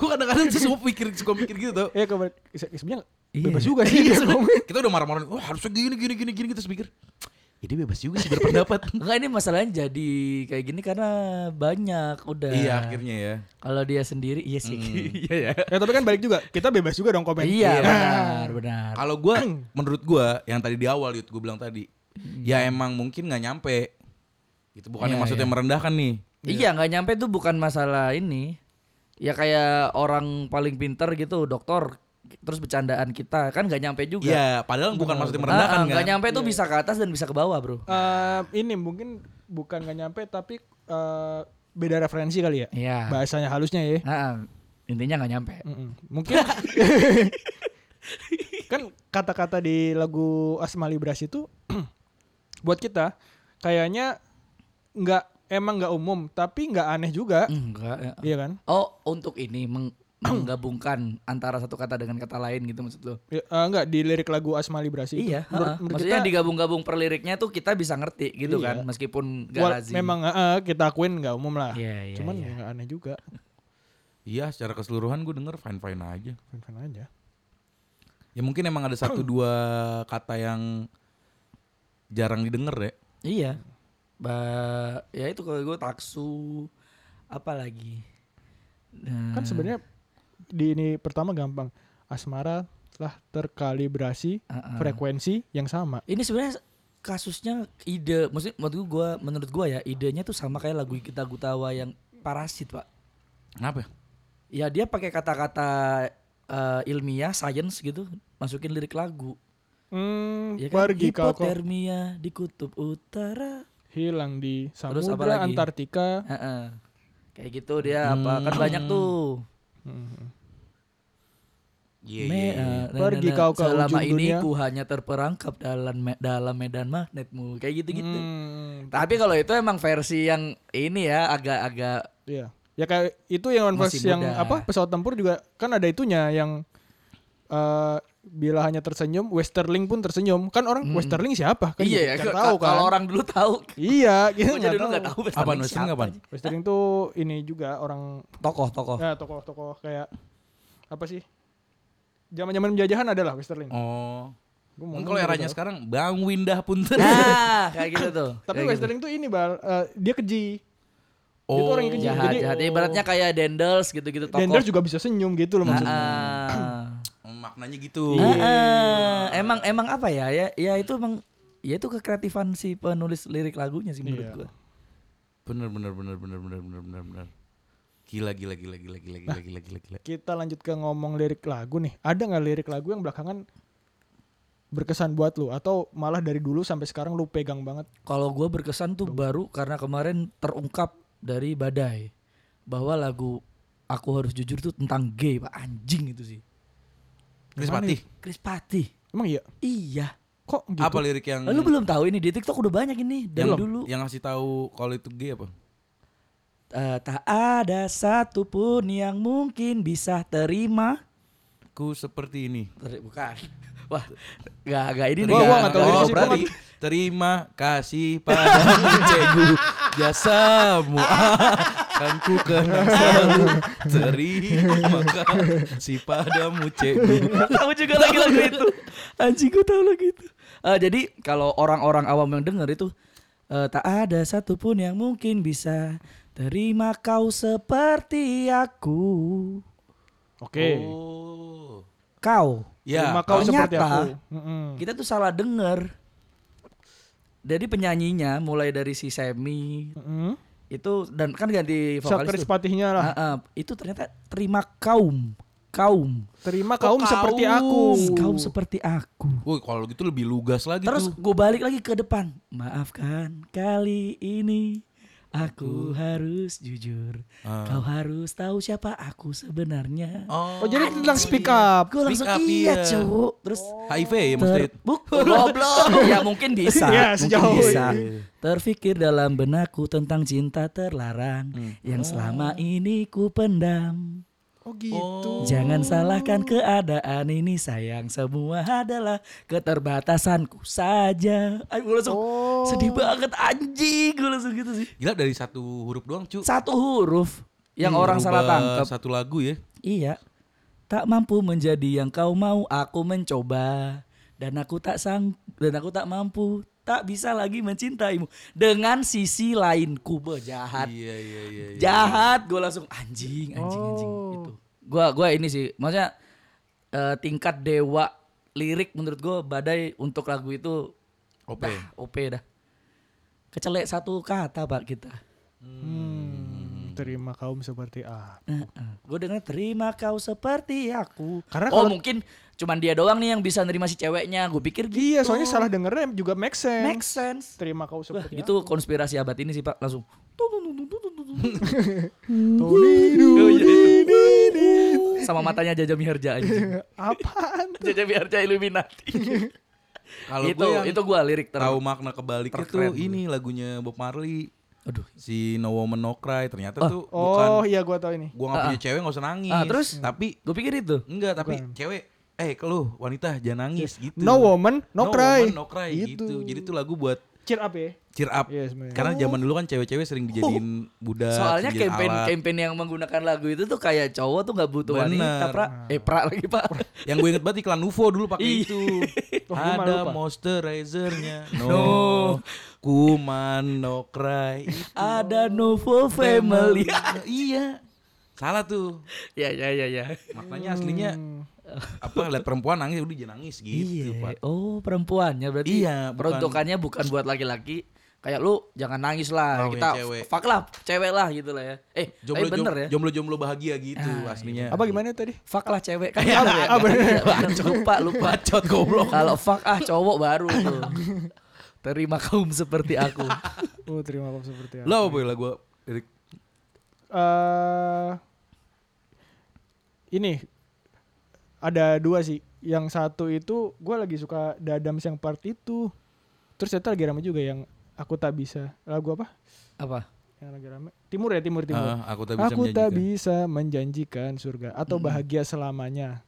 Speaker 2: Gue kadang-kadang tuh suka pikir, suka pikir gitu tau.
Speaker 1: Iya kabar se- sebenarnya
Speaker 3: Iya.
Speaker 1: bebas juga sih.
Speaker 2: Iya, sebenarnya kita udah marah-marah, wah harusnya gini gini gini gini terus mikir. Ya dia bebas juga sih berpendapat.
Speaker 3: Enggak ini masalahnya jadi kayak gini karena banyak udah.
Speaker 2: iya akhirnya ya. Hmm.
Speaker 3: Kalau dia sendiri iya sih. Iya ya.
Speaker 1: ya tapi kan balik juga. Kita bebas juga dong komen. Nah,
Speaker 3: Iya benar benar.
Speaker 2: Kalau gua menurut gua yang tadi di awal Yud gue bilang tadi, ya emang mungkin nggak nyampe. Itu bukannya
Speaker 3: Hmm. Iya,
Speaker 2: maksudnya merendahkan nih.
Speaker 3: Iya nggak nyampe tuh bukan masalah ini. Ya kayak orang paling pinter gitu dokter terus bercandaan kita kan nggak nyampe juga.
Speaker 2: Iya, padahal bukan maksudnya
Speaker 3: Ah, ah,
Speaker 2: merendahkan
Speaker 3: nggak
Speaker 2: kan.
Speaker 3: nyampe tuh
Speaker 1: Iya,
Speaker 3: bisa ke atas dan bisa ke bawah bro.
Speaker 1: eh, ini mungkin bukan nggak nyampe tapi eh, beda referensi kali ya.
Speaker 3: Iya.
Speaker 1: Bahasanya halusnya ya.
Speaker 3: Ah, ah, intinya nggak nyampe.
Speaker 1: Mm-mm. Mungkin kan kata-kata di lagu Asmali Beras itu buat kita kayaknya nggak emang nggak umum tapi nggak aneh juga,
Speaker 3: Enggak. ya.
Speaker 1: iya kan?
Speaker 3: Oh untuk ini meng- menggabungkan antara satu kata dengan kata lain gitu maksud lo?
Speaker 1: Ya, eh, nggak di lirik lagu Asmali Beras itu.
Speaker 3: Iya.
Speaker 1: Menurut-
Speaker 3: ah, ah.
Speaker 1: menurut
Speaker 3: Maksudnya
Speaker 1: kita- Iya.
Speaker 3: digabung-gabung per liriknya tuh kita bisa ngerti gitu kan meskipun nggak
Speaker 1: Wal-
Speaker 3: lazim.
Speaker 1: memang eh, kita akuin nggak umum lah.
Speaker 3: Iya, iya,
Speaker 1: Cuman
Speaker 3: iya.
Speaker 1: nggak aneh juga.
Speaker 2: Iya, secara keseluruhan gue denger fine-fine aja.
Speaker 1: Fan-fan aja.
Speaker 2: Ya mungkin emang ada satu
Speaker 3: Hmm.
Speaker 2: dua kata yang jarang didengar ya.
Speaker 3: Iya. Ba ya itu kalau gue taksu Nah, apalagi.
Speaker 1: Kan
Speaker 3: Hmm.
Speaker 1: sebenarnya di ini pertama gampang. Asmara telah terkalibrasi
Speaker 3: Uh-uh.
Speaker 1: frekuensi yang sama.
Speaker 3: ini sebenarnya kasusnya ide maksud menurut gua menurut gua ya idenya tuh sama kayak lagu kita Gutawa yang parasit pak
Speaker 2: Kenapa?
Speaker 3: ya dia pakai kata-kata eh, ilmiah science gitu masukin lirik lagu
Speaker 1: Hmm,
Speaker 3: ya kan
Speaker 1: pergi kau kau
Speaker 3: hipotermia di kutub utara
Speaker 1: hilang di
Speaker 3: Terus apa
Speaker 1: samudra
Speaker 3: lagi?
Speaker 1: Antartika.
Speaker 3: Heeh. kayak gitu dia apa kan
Speaker 1: Hmm.
Speaker 3: banyak tuh
Speaker 2: Iya, iya,
Speaker 3: Me-
Speaker 2: iya.
Speaker 3: eh, nah,
Speaker 1: Pergi
Speaker 3: nah, nah,
Speaker 1: kau ke
Speaker 3: selama
Speaker 1: ujung
Speaker 3: ini
Speaker 1: dunia.
Speaker 3: ku hanya terperangkap dalam me- dalam medan magnetmu kayak gitu gitu
Speaker 1: Hmm,
Speaker 3: tapi kalau itu emang versi yang ini ya agak-agak
Speaker 1: iya. Ya kayak itu yang One
Speaker 3: Masih
Speaker 1: Verse yang
Speaker 3: muda.
Speaker 1: apa pesawat tempur juga kan ada itunya yang eh bila hanya tersenyum Westerling pun tersenyum. Kan orang Westerling siapa? Kan
Speaker 3: Hmm. iya ya
Speaker 1: nggak
Speaker 3: ka-
Speaker 1: tahu kan.
Speaker 3: kalau orang dulu tahu
Speaker 1: Iya, gitu
Speaker 3: gue aja dulu nggak tahu
Speaker 2: Apaan
Speaker 3: Westerling
Speaker 2: Western
Speaker 3: siapa.
Speaker 2: kapan?
Speaker 1: Westerling tuh ini juga orang
Speaker 3: tokoh-tokoh
Speaker 1: ya tokoh-tokoh kayak apa sih? Zaman-zaman penjajahan adalah Westerling.
Speaker 2: Oh.
Speaker 1: Gua mau ngomong gitu.
Speaker 2: Mungkin kalau
Speaker 1: baru
Speaker 2: eranya
Speaker 1: tahu.
Speaker 2: sekarang Bang Windah punten.
Speaker 3: nah kayak gitu tuh
Speaker 1: Tapi
Speaker 3: Kayak gitu.
Speaker 1: Westerling tuh ini bal eh, dia keji.
Speaker 2: Oh.
Speaker 1: Itu orang yang kecil.
Speaker 3: jahat
Speaker 1: Jadi-
Speaker 3: jahat Iya, ibaratnya kayak Dendels gitu-gitu tokoh
Speaker 1: Denders juga bisa senyum gitu loh maksudnya.
Speaker 3: Ah,
Speaker 2: Oh, Maknanya gitu.
Speaker 1: Iya.
Speaker 3: ah. Ah, emang emang apa ya ya ya itu emang ya itu kekreatifan si penulis lirik lagunya sih menurut
Speaker 1: Iya.
Speaker 3: gua
Speaker 2: Bener bener bener bener bener bener bener bener. Gila gila gila gila gila gila gila gila gila.
Speaker 1: Kita lanjut ke ngomong lirik lagu nih. Ada nggak lirik lagu yang belakangan berkesan buat lu atau malah dari dulu sampai sekarang lu pegang banget?
Speaker 3: Kalau gue berkesan tuh baru karena kemarin terungkap dari badai bahwa lagu aku harus jujur tuh tentang gay pak anjing itu sih.
Speaker 2: Chris Patih.
Speaker 3: Chris Patih.
Speaker 1: Emang iya.
Speaker 3: Iya.
Speaker 1: Kok gitu?
Speaker 2: Apa lirik yang
Speaker 3: Lu belum tahu ini di TikTok udah banyak ini dari
Speaker 2: yang,
Speaker 1: Ya.
Speaker 3: dulu.
Speaker 2: yang ngasih tahu kalau itu gay apa?
Speaker 3: Eh, tak ada satupun yang mungkin bisa terima.
Speaker 2: Ku seperti ini.
Speaker 3: Ter- Bukan. Wah, gak gak ini nih.
Speaker 1: Wah,
Speaker 3: nggak-
Speaker 1: wah, nggak tahu
Speaker 3: nggak-
Speaker 1: diri
Speaker 2: oh,
Speaker 1: sih, gua
Speaker 2: berarti terima kasih padamu cegu jasamu kan ku kenang selalu terima kasih padamu cegu
Speaker 3: tahu juga lagi lagu itu. Anjing gue tahu lagu itu. Eh, jadi kalau orang-orang awam yang denger itu eh, tak ada satupun yang mungkin bisa terima kau seperti aku.
Speaker 1: Oke.
Speaker 2: oh
Speaker 3: Kau.
Speaker 2: ya
Speaker 1: Terima kau
Speaker 3: ternyata-
Speaker 1: seperti aku. Mm-mm.
Speaker 3: Iya. Oh, Kita tuh salah denger. Jadi penyanyinya mulai dari si Semi
Speaker 1: Mm-mm.
Speaker 3: itu dan kan
Speaker 2: Iya,
Speaker 3: ganti
Speaker 1: Sa- Chris
Speaker 3: vokalis tuh.
Speaker 1: Patihnya lah.
Speaker 3: Ah, ah, itu ternyata terima kaum kaum
Speaker 1: Terima
Speaker 2: Kok
Speaker 1: kaum seperti aku.
Speaker 3: Oh, kaum seperti aku
Speaker 2: Woi kalau gitu lebih lugas lagi
Speaker 3: Terus
Speaker 2: tuh.
Speaker 3: gue balik lagi ke depan. Maafkan kali ini aku harus jujur.
Speaker 2: Ah.
Speaker 3: Kau harus tahu siapa aku sebenarnya.
Speaker 1: Oh, jadi tentang speak up.
Speaker 3: Gue langsung
Speaker 2: Speak up,
Speaker 3: iya
Speaker 2: iya.
Speaker 3: cowok. Terus
Speaker 2: HIV ya mesti.
Speaker 3: terbuk goblok. ya mungkin bisa.
Speaker 1: Iya,
Speaker 3: mungkin
Speaker 1: sejauh
Speaker 3: bisa.
Speaker 2: ini.
Speaker 3: Terfikir dalam benakku tentang cinta terlarang yang selama ini ku pendam.
Speaker 1: Oh gitu.
Speaker 3: Jangan salahkan keadaan ini sayang Semua adalah keterbatasanku saja Ayo gue langsung
Speaker 1: Oh.
Speaker 3: sedih banget anjing Gue langsung gitu sih
Speaker 2: Gila dari satu huruf doang cu.
Speaker 3: Satu huruf yang
Speaker 2: Iya,
Speaker 3: orang salah
Speaker 2: Berubah
Speaker 3: tangkap
Speaker 2: Satu lagu ya.
Speaker 3: Iya Tak mampu menjadi yang kau mau Aku mencoba Dan aku tak sang Dan aku tak mampu Tak bisa lagi mencintaimu Dengan sisi lainku Jahat
Speaker 2: Iya iya iya. iya.
Speaker 3: jahat gue langsung anjing anjing anjing itu gue gua ini sih maksudnya eh, tingkat dewa lirik menurut gue badai untuk lagu itu
Speaker 2: OP.
Speaker 3: dah op dah kecelek satu kata pak kita
Speaker 1: Hmm, terima kaum seperti aku.
Speaker 3: gue dengar terima kau seperti aku
Speaker 1: Karena
Speaker 3: oh
Speaker 1: kalau-
Speaker 3: mungkin cuman dia doang nih yang bisa nerima si ceweknya gue pikir gitu
Speaker 1: Iya, soalnya salah dengernya juga make sense.
Speaker 3: make sense
Speaker 1: Terima kau
Speaker 3: Wah,
Speaker 1: seperti
Speaker 2: gitu.
Speaker 3: itu konspirasi abad ini sih pak langsung Tung, tung, tung, tung, tung, tung, tung.
Speaker 1: aku. Tuh,
Speaker 3: Oh, iya.
Speaker 1: di, di.
Speaker 3: sama matanya Jaja Miharja anjing
Speaker 1: Apaan?
Speaker 3: Jaja Miharja Illuminati
Speaker 2: Kalau
Speaker 3: itu
Speaker 2: gue yang
Speaker 3: itu gue lirik ter
Speaker 2: tahu makna kebalik itu
Speaker 3: terkeren
Speaker 2: ini lagunya Bob Marley
Speaker 3: aduh
Speaker 2: si No Woman No Cry ternyata tuh
Speaker 1: Oh
Speaker 2: bukan
Speaker 1: iya gua tahu ini.
Speaker 2: gua nggak punya cewek nggak usah nangis.
Speaker 3: Ah, terus?
Speaker 2: tapi
Speaker 3: Gue pikir itu.
Speaker 2: enggak tapi cewek eh kalau wanita jangan nangis gitu.
Speaker 1: No woman, no, cry.
Speaker 2: woman, no cry gitu. Jadi itu lagu buat
Speaker 1: Cheer up ya.
Speaker 2: cheer up.
Speaker 1: Yes, man. Oh.
Speaker 2: Karena zaman dulu kan cewek-cewek sering dijadiin budak,
Speaker 3: Oh. Soalnya
Speaker 2: dijadiin
Speaker 3: campaign
Speaker 2: alat.
Speaker 3: campaign yang menggunakan lagu itu tuh kayak cowok tuh nggak butuh wanita,
Speaker 2: Bener.
Speaker 3: pra. Eh, pra lagi, Pak.
Speaker 2: Yang gue inget banget iklan UFO dulu pakai
Speaker 3: Iya.
Speaker 2: itu.
Speaker 1: Wah, gua malah
Speaker 2: Ada
Speaker 1: lupa.
Speaker 2: moisturizer-nya. No. Kuman no cry.
Speaker 3: Ada Novo Family.
Speaker 2: iya. Salah tuh.
Speaker 3: ya, ya, ya, ya.
Speaker 2: Maknanya aslinya apa lihat perempuan nangis udah jangan nangis gitu
Speaker 3: iya.
Speaker 2: Pak.
Speaker 3: Oh perempuannya berarti.
Speaker 2: Iya, bukan-
Speaker 3: Peruntukannya bukan buat laki-laki. Kayak lu jangan nangis lah.
Speaker 2: Ngomongin
Speaker 3: Kita
Speaker 2: cewek.
Speaker 3: fuck lah, cewek lah gitu lah ya. Eh, tapi
Speaker 2: Jomblo,
Speaker 3: bener ya.
Speaker 2: jomblo jomblo bahagia gitu
Speaker 1: iya.
Speaker 2: aslinya.
Speaker 1: Apa gimana tadi?
Speaker 3: Fuck lah cewek kan
Speaker 2: Iya,
Speaker 3: baru ya.
Speaker 1: ah, bener.
Speaker 3: lupa lupa.
Speaker 2: Bacot goblok.
Speaker 3: Kalau fuck ah cowok baru tuh. Terima kaum seperti aku.
Speaker 1: Oh, terima kasih seperti apa?
Speaker 2: Lo apa lah gue Lirik
Speaker 1: eh ini ada dua sih. Yang satu itu gue lagi suka Dadam yang part itu. Terus ternyata lagi rame juga yang aku tak bisa. Lagu apa?
Speaker 3: Apa?
Speaker 1: Yang lagi rame. Timur ya, timur timur.
Speaker 2: Ah, aku tak bisa
Speaker 1: aku tak
Speaker 2: menjanjikan. Hmm.
Speaker 1: bisa menjanjikan surga atau bahagia selamanya.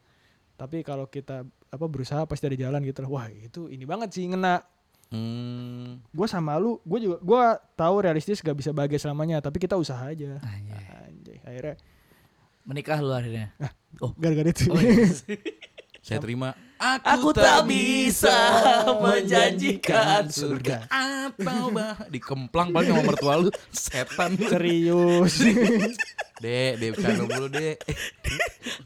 Speaker 1: Tapi kalau kita apa berusaha pasti ada jalan gitu lah. Wah, itu ini banget sih ngena.
Speaker 2: Hmm.
Speaker 1: Gue sama lu, gue juga gue tahu realistis gak bisa bahagia selamanya, tapi kita usaha aja.
Speaker 2: Ah, iya.
Speaker 3: Anjay.
Speaker 1: Anjay, akhirnya
Speaker 3: Menikah lu akhirnya.
Speaker 1: gara-gara itu.
Speaker 3: Oh, iya.
Speaker 2: Saya terima. Aku,
Speaker 3: Aku tak bisa menjanjikan
Speaker 2: surga atau bah dikemplang paling sama mertua lu setan.
Speaker 1: Serius.
Speaker 2: Dek, dek bercanda dulu, Dek.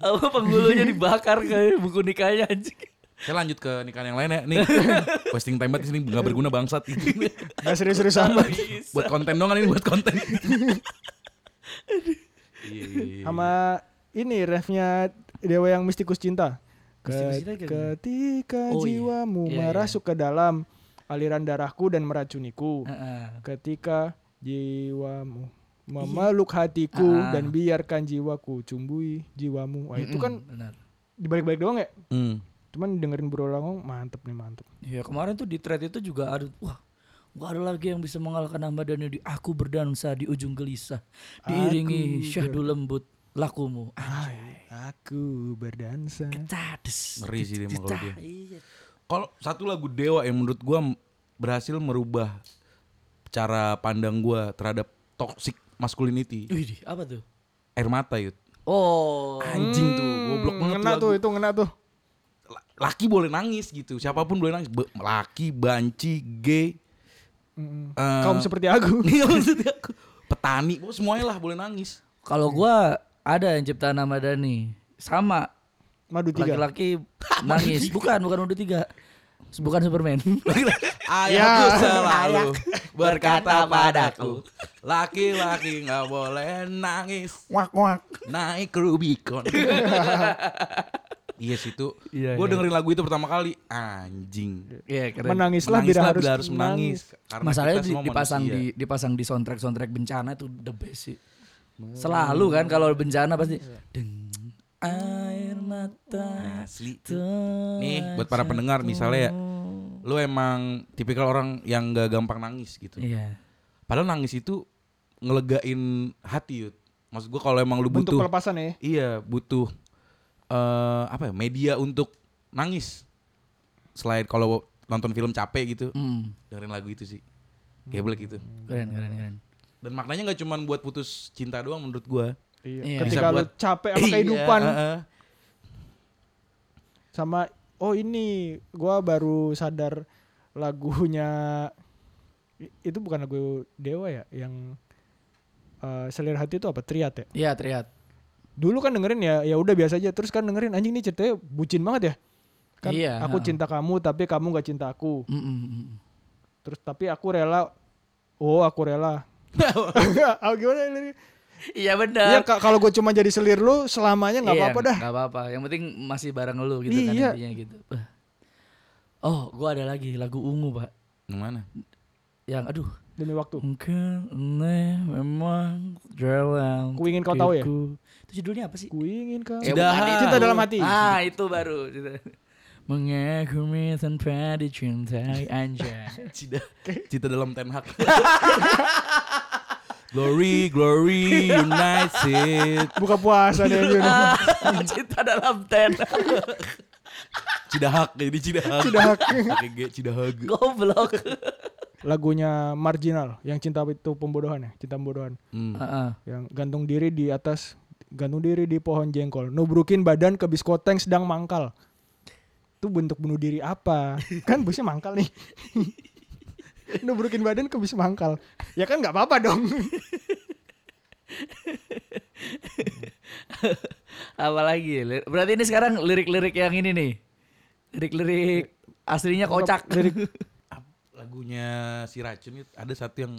Speaker 3: Apa penggulunya dibakar ke buku nikahnya anjing.
Speaker 2: Saya lanjut ke nikahan yang lain ya. Nih, posting time di sini nggak berguna bangsat.
Speaker 1: Gak serius-serius
Speaker 3: Iya.
Speaker 1: amat.
Speaker 2: buat konten dong kan ini buat konten. Iya, iya, iya.
Speaker 1: Sama ini refnya Dewa yang Mistikus Cinta.
Speaker 3: Mistikus
Speaker 1: Ke-
Speaker 3: Cinta kayak gimana?
Speaker 1: ketika
Speaker 3: Oh, iya.
Speaker 1: jiwamu
Speaker 3: Iya,
Speaker 1: merasuk ke dalam aliran darahku dan meracuniku.
Speaker 3: Heeh.
Speaker 1: Ketika jiwamu memeluk hatiku
Speaker 3: Ah.
Speaker 1: dan biarkan jiwaku cumbui jiwamu. Wah, itu kan
Speaker 3: benar.
Speaker 1: dibalik-balik doang ya.
Speaker 2: Hmm.
Speaker 1: Cuman dengerin berulang mantep nih mantep.
Speaker 3: Iya kemarin tuh di thread itu juga ada wah gak ada lagi yang bisa mengalahkan hamba dan di aku berdansa di ujung gelisah diiringi
Speaker 1: Aku
Speaker 3: syahdu lembut lakumu Ah, iya.
Speaker 1: Aku berdansa.
Speaker 3: Tades.
Speaker 2: Ngeri sih dia emang kalau dia.
Speaker 3: Iya.
Speaker 2: Kalau satu lagu Dewa yang menurut gua m- berhasil merubah cara pandang gua terhadap toxic masculinity.
Speaker 3: Widih, apa tuh?
Speaker 2: Air mata yut.
Speaker 3: Oh,
Speaker 2: Anjing tuh, goblok banget
Speaker 1: Hmm, ngena
Speaker 2: tuh
Speaker 1: tuh
Speaker 2: lagu.
Speaker 1: itu ngena tuh.
Speaker 2: La- Laki boleh nangis gitu, siapapun boleh nangis. Be- laki, banci, gay,
Speaker 1: Mm-mm.
Speaker 2: eh,
Speaker 1: Kaum seperti aku.
Speaker 2: Iya maksudnya aku. Petani, pokoknya semuanya lah boleh nangis.
Speaker 3: kalau gua ada yang ciptaan nama Dani. Sama
Speaker 1: Madu tiga.
Speaker 3: laki-laki nangis. Bukan, bukan udah tiga. Bukan Superman.
Speaker 2: Ayahku
Speaker 1: Ya.
Speaker 2: selalu berkata padaku, laki-laki nggak boleh nangis.
Speaker 1: Wak wak.
Speaker 2: naik Rubicon. Iya situ.
Speaker 3: Iya,
Speaker 2: gue
Speaker 3: iya.
Speaker 2: dengerin lagu itu pertama kali, anjing.
Speaker 3: Iya, keren.
Speaker 1: Menangislah, bila,
Speaker 2: Menangislah
Speaker 1: harus,
Speaker 2: bila harus menangis. Karena
Speaker 3: Masalahnya
Speaker 2: kita
Speaker 3: di-
Speaker 2: semua
Speaker 3: dipasang
Speaker 2: manusia.
Speaker 3: di dipasang di soundtrack soundtrack bencana itu the best sih. Selalu kan kalau bencana pasti
Speaker 1: Iya.
Speaker 3: deng air mata
Speaker 2: asli.
Speaker 3: telah
Speaker 2: Nih buat para pendengar misalnya ya,
Speaker 3: jatuh.
Speaker 2: lu emang tipikal orang yang gak gampang nangis gitu.
Speaker 3: Iya.
Speaker 2: Padahal nangis itu ngelegain hati yut. Maksud gue kalau emang lu
Speaker 1: Bentuk
Speaker 2: butuh,
Speaker 1: pelepasan ya.
Speaker 2: iya butuh eh apa ya media untuk nangis. Selain kalau nonton film capek gitu,
Speaker 3: Hmm,
Speaker 2: dengerin lagu itu sih. Geblek gitu.
Speaker 3: keren keren keren.
Speaker 2: Dan maknanya nggak cuman buat putus cinta doang menurut gua.
Speaker 1: Iya.
Speaker 3: Iya.
Speaker 1: Ketika
Speaker 2: Bisa
Speaker 1: lu
Speaker 2: buat-
Speaker 1: capek sama kehidupan
Speaker 2: Iya, heeh.
Speaker 1: sama oh ini gua baru sadar lagunya i- itu bukan lagu Dewa ya yang eh, selir hati itu apa triat ya.
Speaker 3: Iya, Triat.
Speaker 1: Dulu kan dengerin ya ya udah biasa aja terus kan dengerin anjing ini ceritanya bucin banget ya. Kan
Speaker 3: Iya,
Speaker 1: aku
Speaker 3: heeh.
Speaker 1: cinta kamu tapi kamu gak cinta aku.
Speaker 3: Mm, mm, mm.
Speaker 1: Terus tapi aku rela oh aku rela. Ah, gimana ini?
Speaker 3: Iya benar.
Speaker 1: Iya ka- kalau gue cuma jadi selir lu selamanya nggak
Speaker 3: Iya,
Speaker 1: apa-apa dah.
Speaker 3: nggak apa-apa. Yang penting masih bareng lu gitu kan
Speaker 1: Iya.
Speaker 3: intinya gitu. Wah. Oh, gua ada lagi lagu ungu, Pak.
Speaker 2: Yang mana?
Speaker 3: Yang aduh,
Speaker 1: Demi waktu.
Speaker 3: Mungkin ini memang dalam
Speaker 1: Ku ingin kau tahu ya?
Speaker 3: hatiku. Itu judulnya apa sih?
Speaker 1: Ku ingin kau.
Speaker 2: Eh,
Speaker 3: bukan
Speaker 2: Sudah.
Speaker 3: itu.
Speaker 1: Cinta dalam hati.
Speaker 3: Ya Ah, itu baru. Mengagumi tanpa dicintai anjay.
Speaker 2: Cita, cita dalam Ten Hag. glory, glory, united.
Speaker 1: Buka puasa deh Yun.
Speaker 3: Ah. Cinta dalam ten.
Speaker 2: Cidahak, ini Cidahak. Cidahak. Pakai G, Cidahak.
Speaker 3: Goblok.
Speaker 1: Lagunya marginal yang cinta itu pembodohan ya, cinta pembodohan.
Speaker 2: Hmm.
Speaker 3: Heeh.
Speaker 1: Yang gantung diri di atas gantung diri di pohon jengkol, nubrukin badan ke biskoteng sedang mangkal. Itu bentuk bunuh diri apa? Kan busnya mangkal nih. nubrukin badan ke bis mangkal. Ya kan nggak apa-apa dong.
Speaker 3: Apalagi li- berarti ini sekarang lirik-lirik yang ini nih. Lirik-lirik aslinya kocak. Lirik
Speaker 2: Iya, Ap- lagunya si racun itu ada satu yang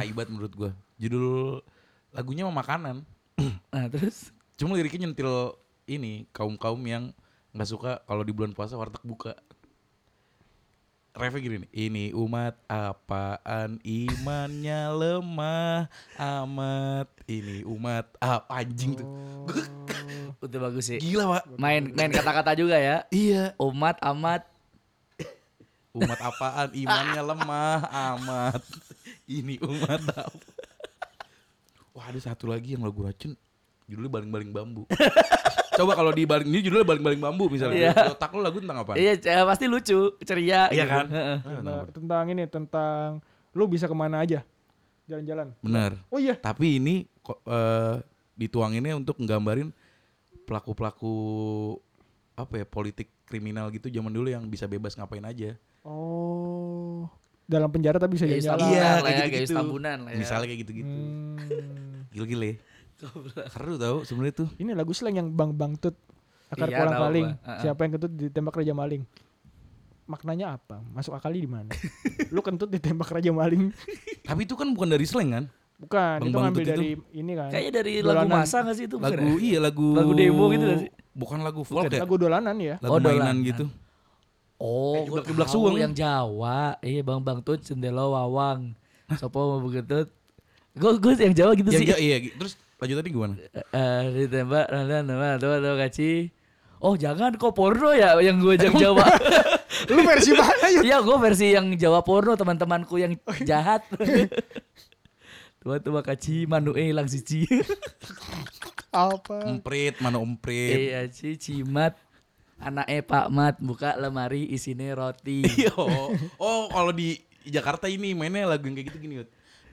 Speaker 2: aibat menurut gua judul lagunya mah makanan
Speaker 3: nah, terus
Speaker 2: cuma liriknya nyentil ini kaum kaum yang nggak suka kalau di bulan puasa warteg buka Refnya gini nih, ini umat apaan imannya lemah amat ini umat apa anjing tuh
Speaker 3: udah bagus sih.
Speaker 2: gila pak
Speaker 3: Main main kata-kata juga ya.
Speaker 2: iya
Speaker 3: Umat amat
Speaker 2: umat apaan imannya lemah amat ini umat apa wah ada satu lagi yang lagu racun judulnya baling-baling bambu coba kalau di baling ini judulnya baling-baling bambu misalnya
Speaker 3: Iya.
Speaker 2: Di otak lu lagu tentang apa
Speaker 3: Iya, c- pasti lucu, ceria
Speaker 2: Iya
Speaker 3: gitu.
Speaker 2: kan?
Speaker 3: Heeh.
Speaker 1: Nah, tentang ini tentang lu bisa kemana aja jalan-jalan.
Speaker 2: bener
Speaker 1: Oh iya,
Speaker 2: tapi ini ko- eh, dituanginnya untuk nggambarin pelaku-pelaku apa ya politik kriminal gitu zaman dulu yang bisa bebas ngapain aja
Speaker 1: Oh, dalam penjara tapi bisa
Speaker 3: Gayus
Speaker 1: jalan.
Speaker 3: tambunan
Speaker 2: Iya,
Speaker 3: lah ya,
Speaker 2: kayak
Speaker 3: gayus
Speaker 2: gitu-gitu.
Speaker 3: tambunan lah ya.
Speaker 2: misalnya kayak gitu-gitu
Speaker 1: Hmm.
Speaker 2: gila-gila ya. seru tau sebenarnya tuh
Speaker 1: Ini lagu slang yang bang bangtut akar
Speaker 3: Iya,
Speaker 1: pulang
Speaker 3: tahu
Speaker 1: paling.
Speaker 3: gua. Heeh.
Speaker 1: Siapa yang kentut ditembak raja maling. Maknanya apa? Masuk akali di mana? Lu kentut ditembak raja maling.
Speaker 2: tapi itu kan bukan dari slang kan
Speaker 1: Bukan,
Speaker 2: Bang
Speaker 1: itu
Speaker 2: Bangtut
Speaker 1: ngambil
Speaker 2: itu?
Speaker 1: dari ini kan.
Speaker 3: Kayaknya dari lagu
Speaker 1: Dolanan.
Speaker 3: masa gak sih itu bukan
Speaker 2: lagu
Speaker 3: ya?
Speaker 2: iya lagu
Speaker 3: Lagu demo gitu gak sih?
Speaker 2: bukan lagu folk ya
Speaker 1: Lagu dolanan ya.
Speaker 2: lagu
Speaker 3: Oh,
Speaker 2: mainan
Speaker 3: dolanan.
Speaker 2: gitu Kayak
Speaker 3: Oh, gua
Speaker 2: Kiblak-kiblak
Speaker 3: tahu
Speaker 2: suweng.
Speaker 3: yang Jawa. Iya, Bang Bang Tut Cendela Wawang. Sopo mau begitu. Gue gue yang Jawa gitu
Speaker 2: Yang-
Speaker 3: sih.
Speaker 2: ya, iya gi- terus lanjut tadi gimana
Speaker 3: Eh, ditembak nana nana tuh tuh kaci. Oh, jangan kok porno ya yang gue yang Jawa.
Speaker 1: Lu versi mana ya?
Speaker 3: Iya, gue versi yang Jawa porno teman-temanku yang jahat. Tua-tua kaci manu eh lang siji.
Speaker 1: Apa?
Speaker 2: emprit mana emprit
Speaker 3: Iya, ci cimat. Anaknya Pak Mat buka lemari isine roti.
Speaker 2: Iya. oh. oh kalau di Jakarta ini mainnya lagu yang kayak gitu gini Yud.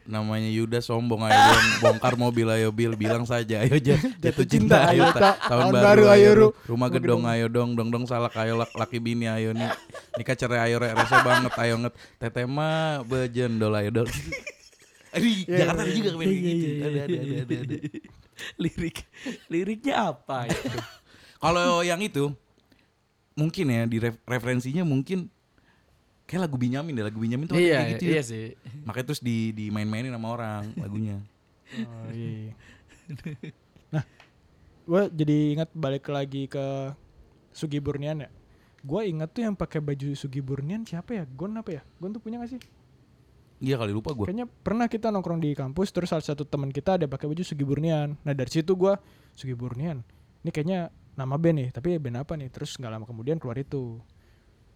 Speaker 2: namanya Yuda sombong ayo dong bongkar mobil ayo bil bilang saja ayo ja, jatuh cinta ayo ta- tahun baru ayo ru. rumah gedong ayo dong dong dong salak ayo lak- laki bini ayo nih nikah cerai ayo re- rese banget ayo nget teteh mah bejendol ayo dol Di Jakarta
Speaker 3: Iya,
Speaker 2: ada juga kayak gitu ada ada ada ada, ada.
Speaker 3: Lirik liriknya apa ya?
Speaker 2: Kalau yang itu mungkin ya di ref- referensinya mungkin kayak lagu Binyamin deh, lagu Binyamin tuh ada
Speaker 3: iya,
Speaker 2: kayak gitu. ya.
Speaker 3: iya sih.
Speaker 2: Makanya terus di dimain-mainin sama orang lagunya.
Speaker 1: Oh, iya. Nah, gue jadi ingat balik lagi ke Sugi Burnian ya. Gue ingat tuh yang pakai baju Sugi Burnian siapa ya? Gon apa ya? Gon tuh punya gak sih?
Speaker 2: Iya kali lupa gua.
Speaker 1: Kayaknya pernah kita nongkrong di kampus terus salah satu teman kita ada pakai baju Sugi Burnian. Nah dari situ gua Sugi Burnian. Ini kayaknya nama band nih, tapi band apa nih? Terus nggak lama kemudian keluar itu.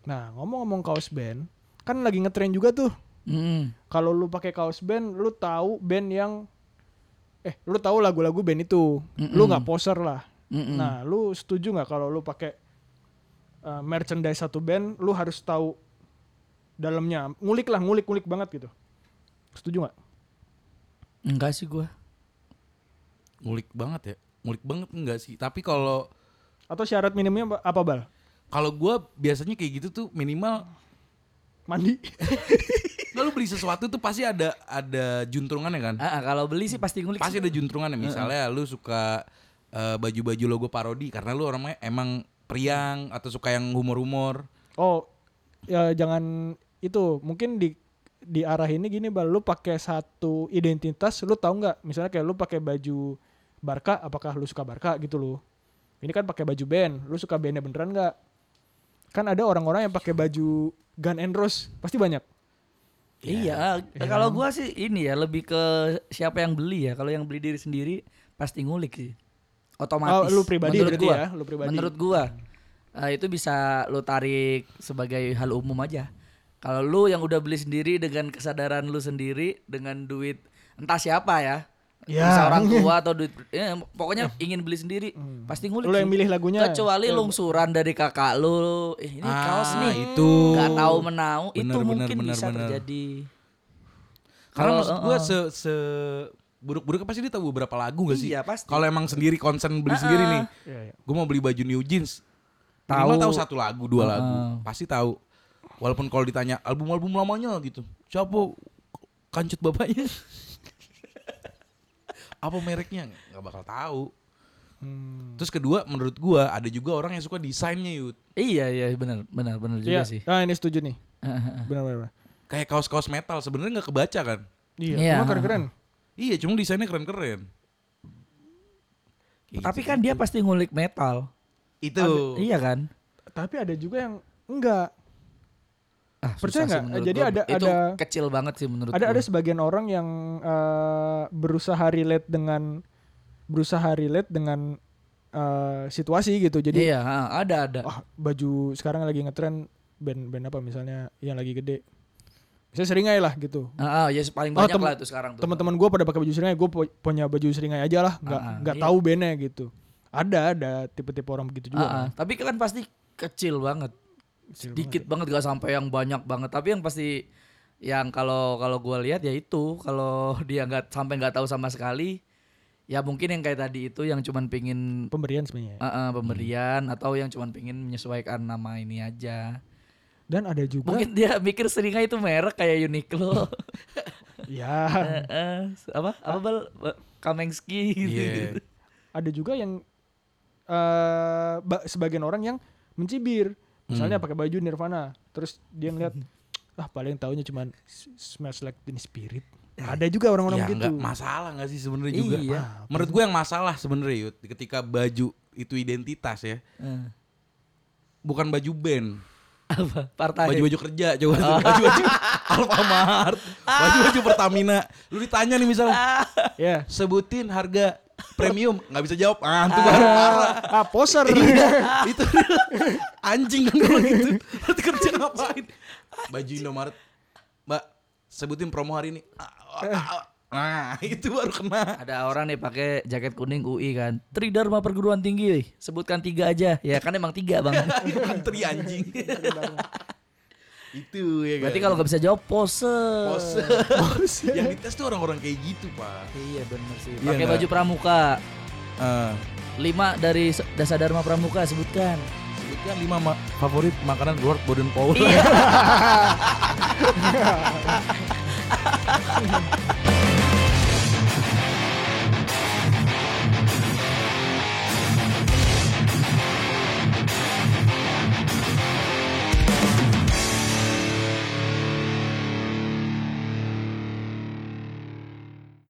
Speaker 1: Nah ngomong-ngomong kaos band, kan lagi ngetren juga tuh.
Speaker 3: Mm.
Speaker 1: Kalau lu pakai kaos band, lu tahu band yang eh lu tahu lagu-lagu band itu. Lu nggak poser lah.
Speaker 3: Mm-mm.
Speaker 1: Nah, lu setuju nggak kalau lu pakai eh, merchandise satu band, lu harus tahu dalamnya. Ngulik lah, ngulik-ngulik banget gitu. Setuju nggak?
Speaker 3: Enggak sih gua.
Speaker 2: Ngulik banget ya. Ngulik banget enggak sih? Tapi kalau
Speaker 1: Atau syarat minimumnya apa- apa bal?
Speaker 2: kalau gua biasanya kayak gitu tuh minimal
Speaker 1: Mandi.
Speaker 2: nggak, lu beli sesuatu tuh pasti ada ada juntrungannya kan?
Speaker 3: Ah, ah, kalau beli sih pasti ngulik.
Speaker 2: Pasti ada juntrungannya. Misalnya lu suka eh, baju-baju logo parodi karena lu orangnya emang priang atau suka yang humor-humor.
Speaker 1: Oh, ya jangan itu. Mungkin di di arah ini gini bal, lu pakai satu identitas, lu tahu nggak? Misalnya kayak lu pakai baju Barca, apakah lu suka Barca gitu loh? Ini kan pakai baju band, lu suka bandnya beneran nggak? Kan ada orang-orang yang pakai baju Gun and Rose, pasti banyak.
Speaker 3: Iya, ah, kalau gua sih ini ya lebih ke siapa yang beli ya. Kalau yang beli diri sendiri pasti ngulik sih. Otomatis.
Speaker 1: Oh, lu pribadi
Speaker 3: menurut
Speaker 1: berarti
Speaker 3: gua.
Speaker 1: ya, lu pribadi.
Speaker 3: Menurut gua eh, itu bisa lu tarik sebagai hal umum aja. Kalau lu yang udah beli sendiri dengan kesadaran lu sendiri dengan duit entah siapa ya.
Speaker 1: Ya. Eh.
Speaker 3: Bisa orang tua atau duit ya, pokoknya ingin beli sendiri pasti ngulik.
Speaker 1: Hmm. Lu yang
Speaker 3: sih.
Speaker 1: milih lagunya. Iya.
Speaker 3: Kecuali lungsuran dari kakak lu. Eh, ini
Speaker 2: Ah,
Speaker 3: kaos nih.
Speaker 2: itu.
Speaker 3: Gak tahu menau itu
Speaker 2: Bener, bener,
Speaker 3: mungkin
Speaker 2: bener,
Speaker 3: bisa
Speaker 2: bener.
Speaker 3: terjadi.
Speaker 2: Karena
Speaker 3: Kalau- eh,
Speaker 2: maksud gue se, se buruk-buruknya pasti dia tahu beberapa lagu gak sih?
Speaker 3: Iya, pasti. Eh,
Speaker 2: Kalau emang sendiri concern beli sendiri nih,
Speaker 1: Iya, iya.
Speaker 2: gue mau beli baju new jeans. Minimal
Speaker 3: Tahu.
Speaker 2: tahu satu lagu, dua lagu, pasti tahu. Walaupun kalau ditanya album-album lamanya gitu, siapa kancut bapaknya? Apa mereknya? Gak bakal tahu.
Speaker 1: Hmm.
Speaker 2: Terus kedua menurut gua ada juga orang yang suka desainnya Yud.
Speaker 3: Iya iya benar benar benar juga
Speaker 1: Iya.
Speaker 3: sih.
Speaker 1: Ah
Speaker 3: Ah.
Speaker 1: ini setuju nih.
Speaker 3: Heeh.
Speaker 1: Benar benar. benar.
Speaker 2: Kayak kaos-kaos metal sebenarnya nggak kebaca kan?
Speaker 1: Iya.
Speaker 3: Iya.
Speaker 1: Cuma keren keren.
Speaker 2: Iya, cuma desainnya keren-keren. Kayak
Speaker 3: Tapi
Speaker 2: gitu.
Speaker 3: kan dia pasti ngulik metal.
Speaker 2: itu
Speaker 3: Iya kan?
Speaker 1: Tapi ada juga yang enggak.
Speaker 3: Ah,
Speaker 1: Percaya
Speaker 3: susah sih
Speaker 1: nggak?
Speaker 3: menurut
Speaker 1: Jadi
Speaker 3: gua.
Speaker 1: ada-
Speaker 3: itu
Speaker 1: ada-
Speaker 3: kecil banget sih menurut
Speaker 1: Ada
Speaker 3: gua.
Speaker 1: ada sebagian orang yang eh, berusaha relate dengan berusaha relate dengan eh, situasi gitu. Jadi
Speaker 3: Iya, ah, ada ada.
Speaker 1: ah, baju sekarang lagi ngetren band band apa misalnya yang lagi gede. Misalnya seringai lah gitu.
Speaker 3: Ah, ah, ya paling
Speaker 1: Oh,
Speaker 3: banyak
Speaker 1: tem-
Speaker 3: lah itu sekarang tuh.
Speaker 1: Teman-teman gue pada pakai baju seringai, gue punya baju seringai aja lah, nggak
Speaker 3: Ah, ah.
Speaker 1: nggak
Speaker 3: Iya.
Speaker 1: tahu bandnya gitu. Ada ada tipe-tipe orang begitu juga.
Speaker 3: Ah, ah.
Speaker 1: kan.
Speaker 3: Tapi kan pasti kecil banget.
Speaker 1: Kecil ya.
Speaker 3: Sedikit banget gak sampai yang banyak banget. Tapi yang pasti yang kalau kalau gua lihat ya itu kalau dia nggak sampai nggak tahu sama sekali ya mungkin yang kayak tadi itu yang cuman pingin
Speaker 1: Pemberian sebenarnya.
Speaker 3: ah,
Speaker 2: Hmm.
Speaker 3: ah, pemberian atau yang cuman pingin menyesuaikan nama ini aja.
Speaker 1: Dan ada juga
Speaker 3: Mungkin dia mikir seringai itu merek kayak Uniqlo.
Speaker 1: ya
Speaker 3: Eh, eh, apa? Apa bal? Kamengski gitu.
Speaker 2: Iya.
Speaker 1: ada juga yang eh ba- sebagian orang yang mencibir misalnya
Speaker 2: Hmm.
Speaker 1: pakai baju Nirvana terus dia ngeliat ah paling taunya cuman s- smells like Teen Spirit ada juga orang-orang
Speaker 2: ya
Speaker 1: gitu
Speaker 2: nggak masalah nggak sih sebenarnya juga. ah.
Speaker 3: Iya.
Speaker 2: Menurut gue yang masalah sebenarnya Yud, ketika baju itu identitas ya,
Speaker 3: Eh,
Speaker 2: bukan baju band,
Speaker 3: apa? Partai.
Speaker 2: baju-baju kerja coba tuh, baju-baju Alfamart, baju-baju Pertamina. Lu ditanya nih misalnya,
Speaker 1: ya
Speaker 2: sebutin harga premium, nggak bisa jawab. Ah, itu baru marah.
Speaker 1: ah poser
Speaker 2: Iya, itu anjing kan kalau gitu. Berarti kerja ngapain? Baju Indomaret. Mbak, sebutin promo hari ini. Ah, ah, ah. Nah, itu baru kena.
Speaker 3: Ada orang nih pakai jaket kuning UI kan. Tridharma perguruan tinggi. Sebutkan tiga aja. Ya kan emang tiga bang.
Speaker 2: Itu antri anjing. itu ya kan.
Speaker 3: Berarti kalau nggak bisa jawab pose.
Speaker 2: Pose.
Speaker 1: Eh. Poser.
Speaker 2: yang dites tuh orang-orang kayak gitu, Pak.
Speaker 3: Iya benar sih.
Speaker 2: Iya
Speaker 3: Pakai
Speaker 2: nggak?
Speaker 3: baju pramuka.
Speaker 2: Eh,
Speaker 3: Lima dari se- dasa dharma pramuka sebutkan.
Speaker 2: sebutkan lima ma- favorit makanan Lord Boden Paul.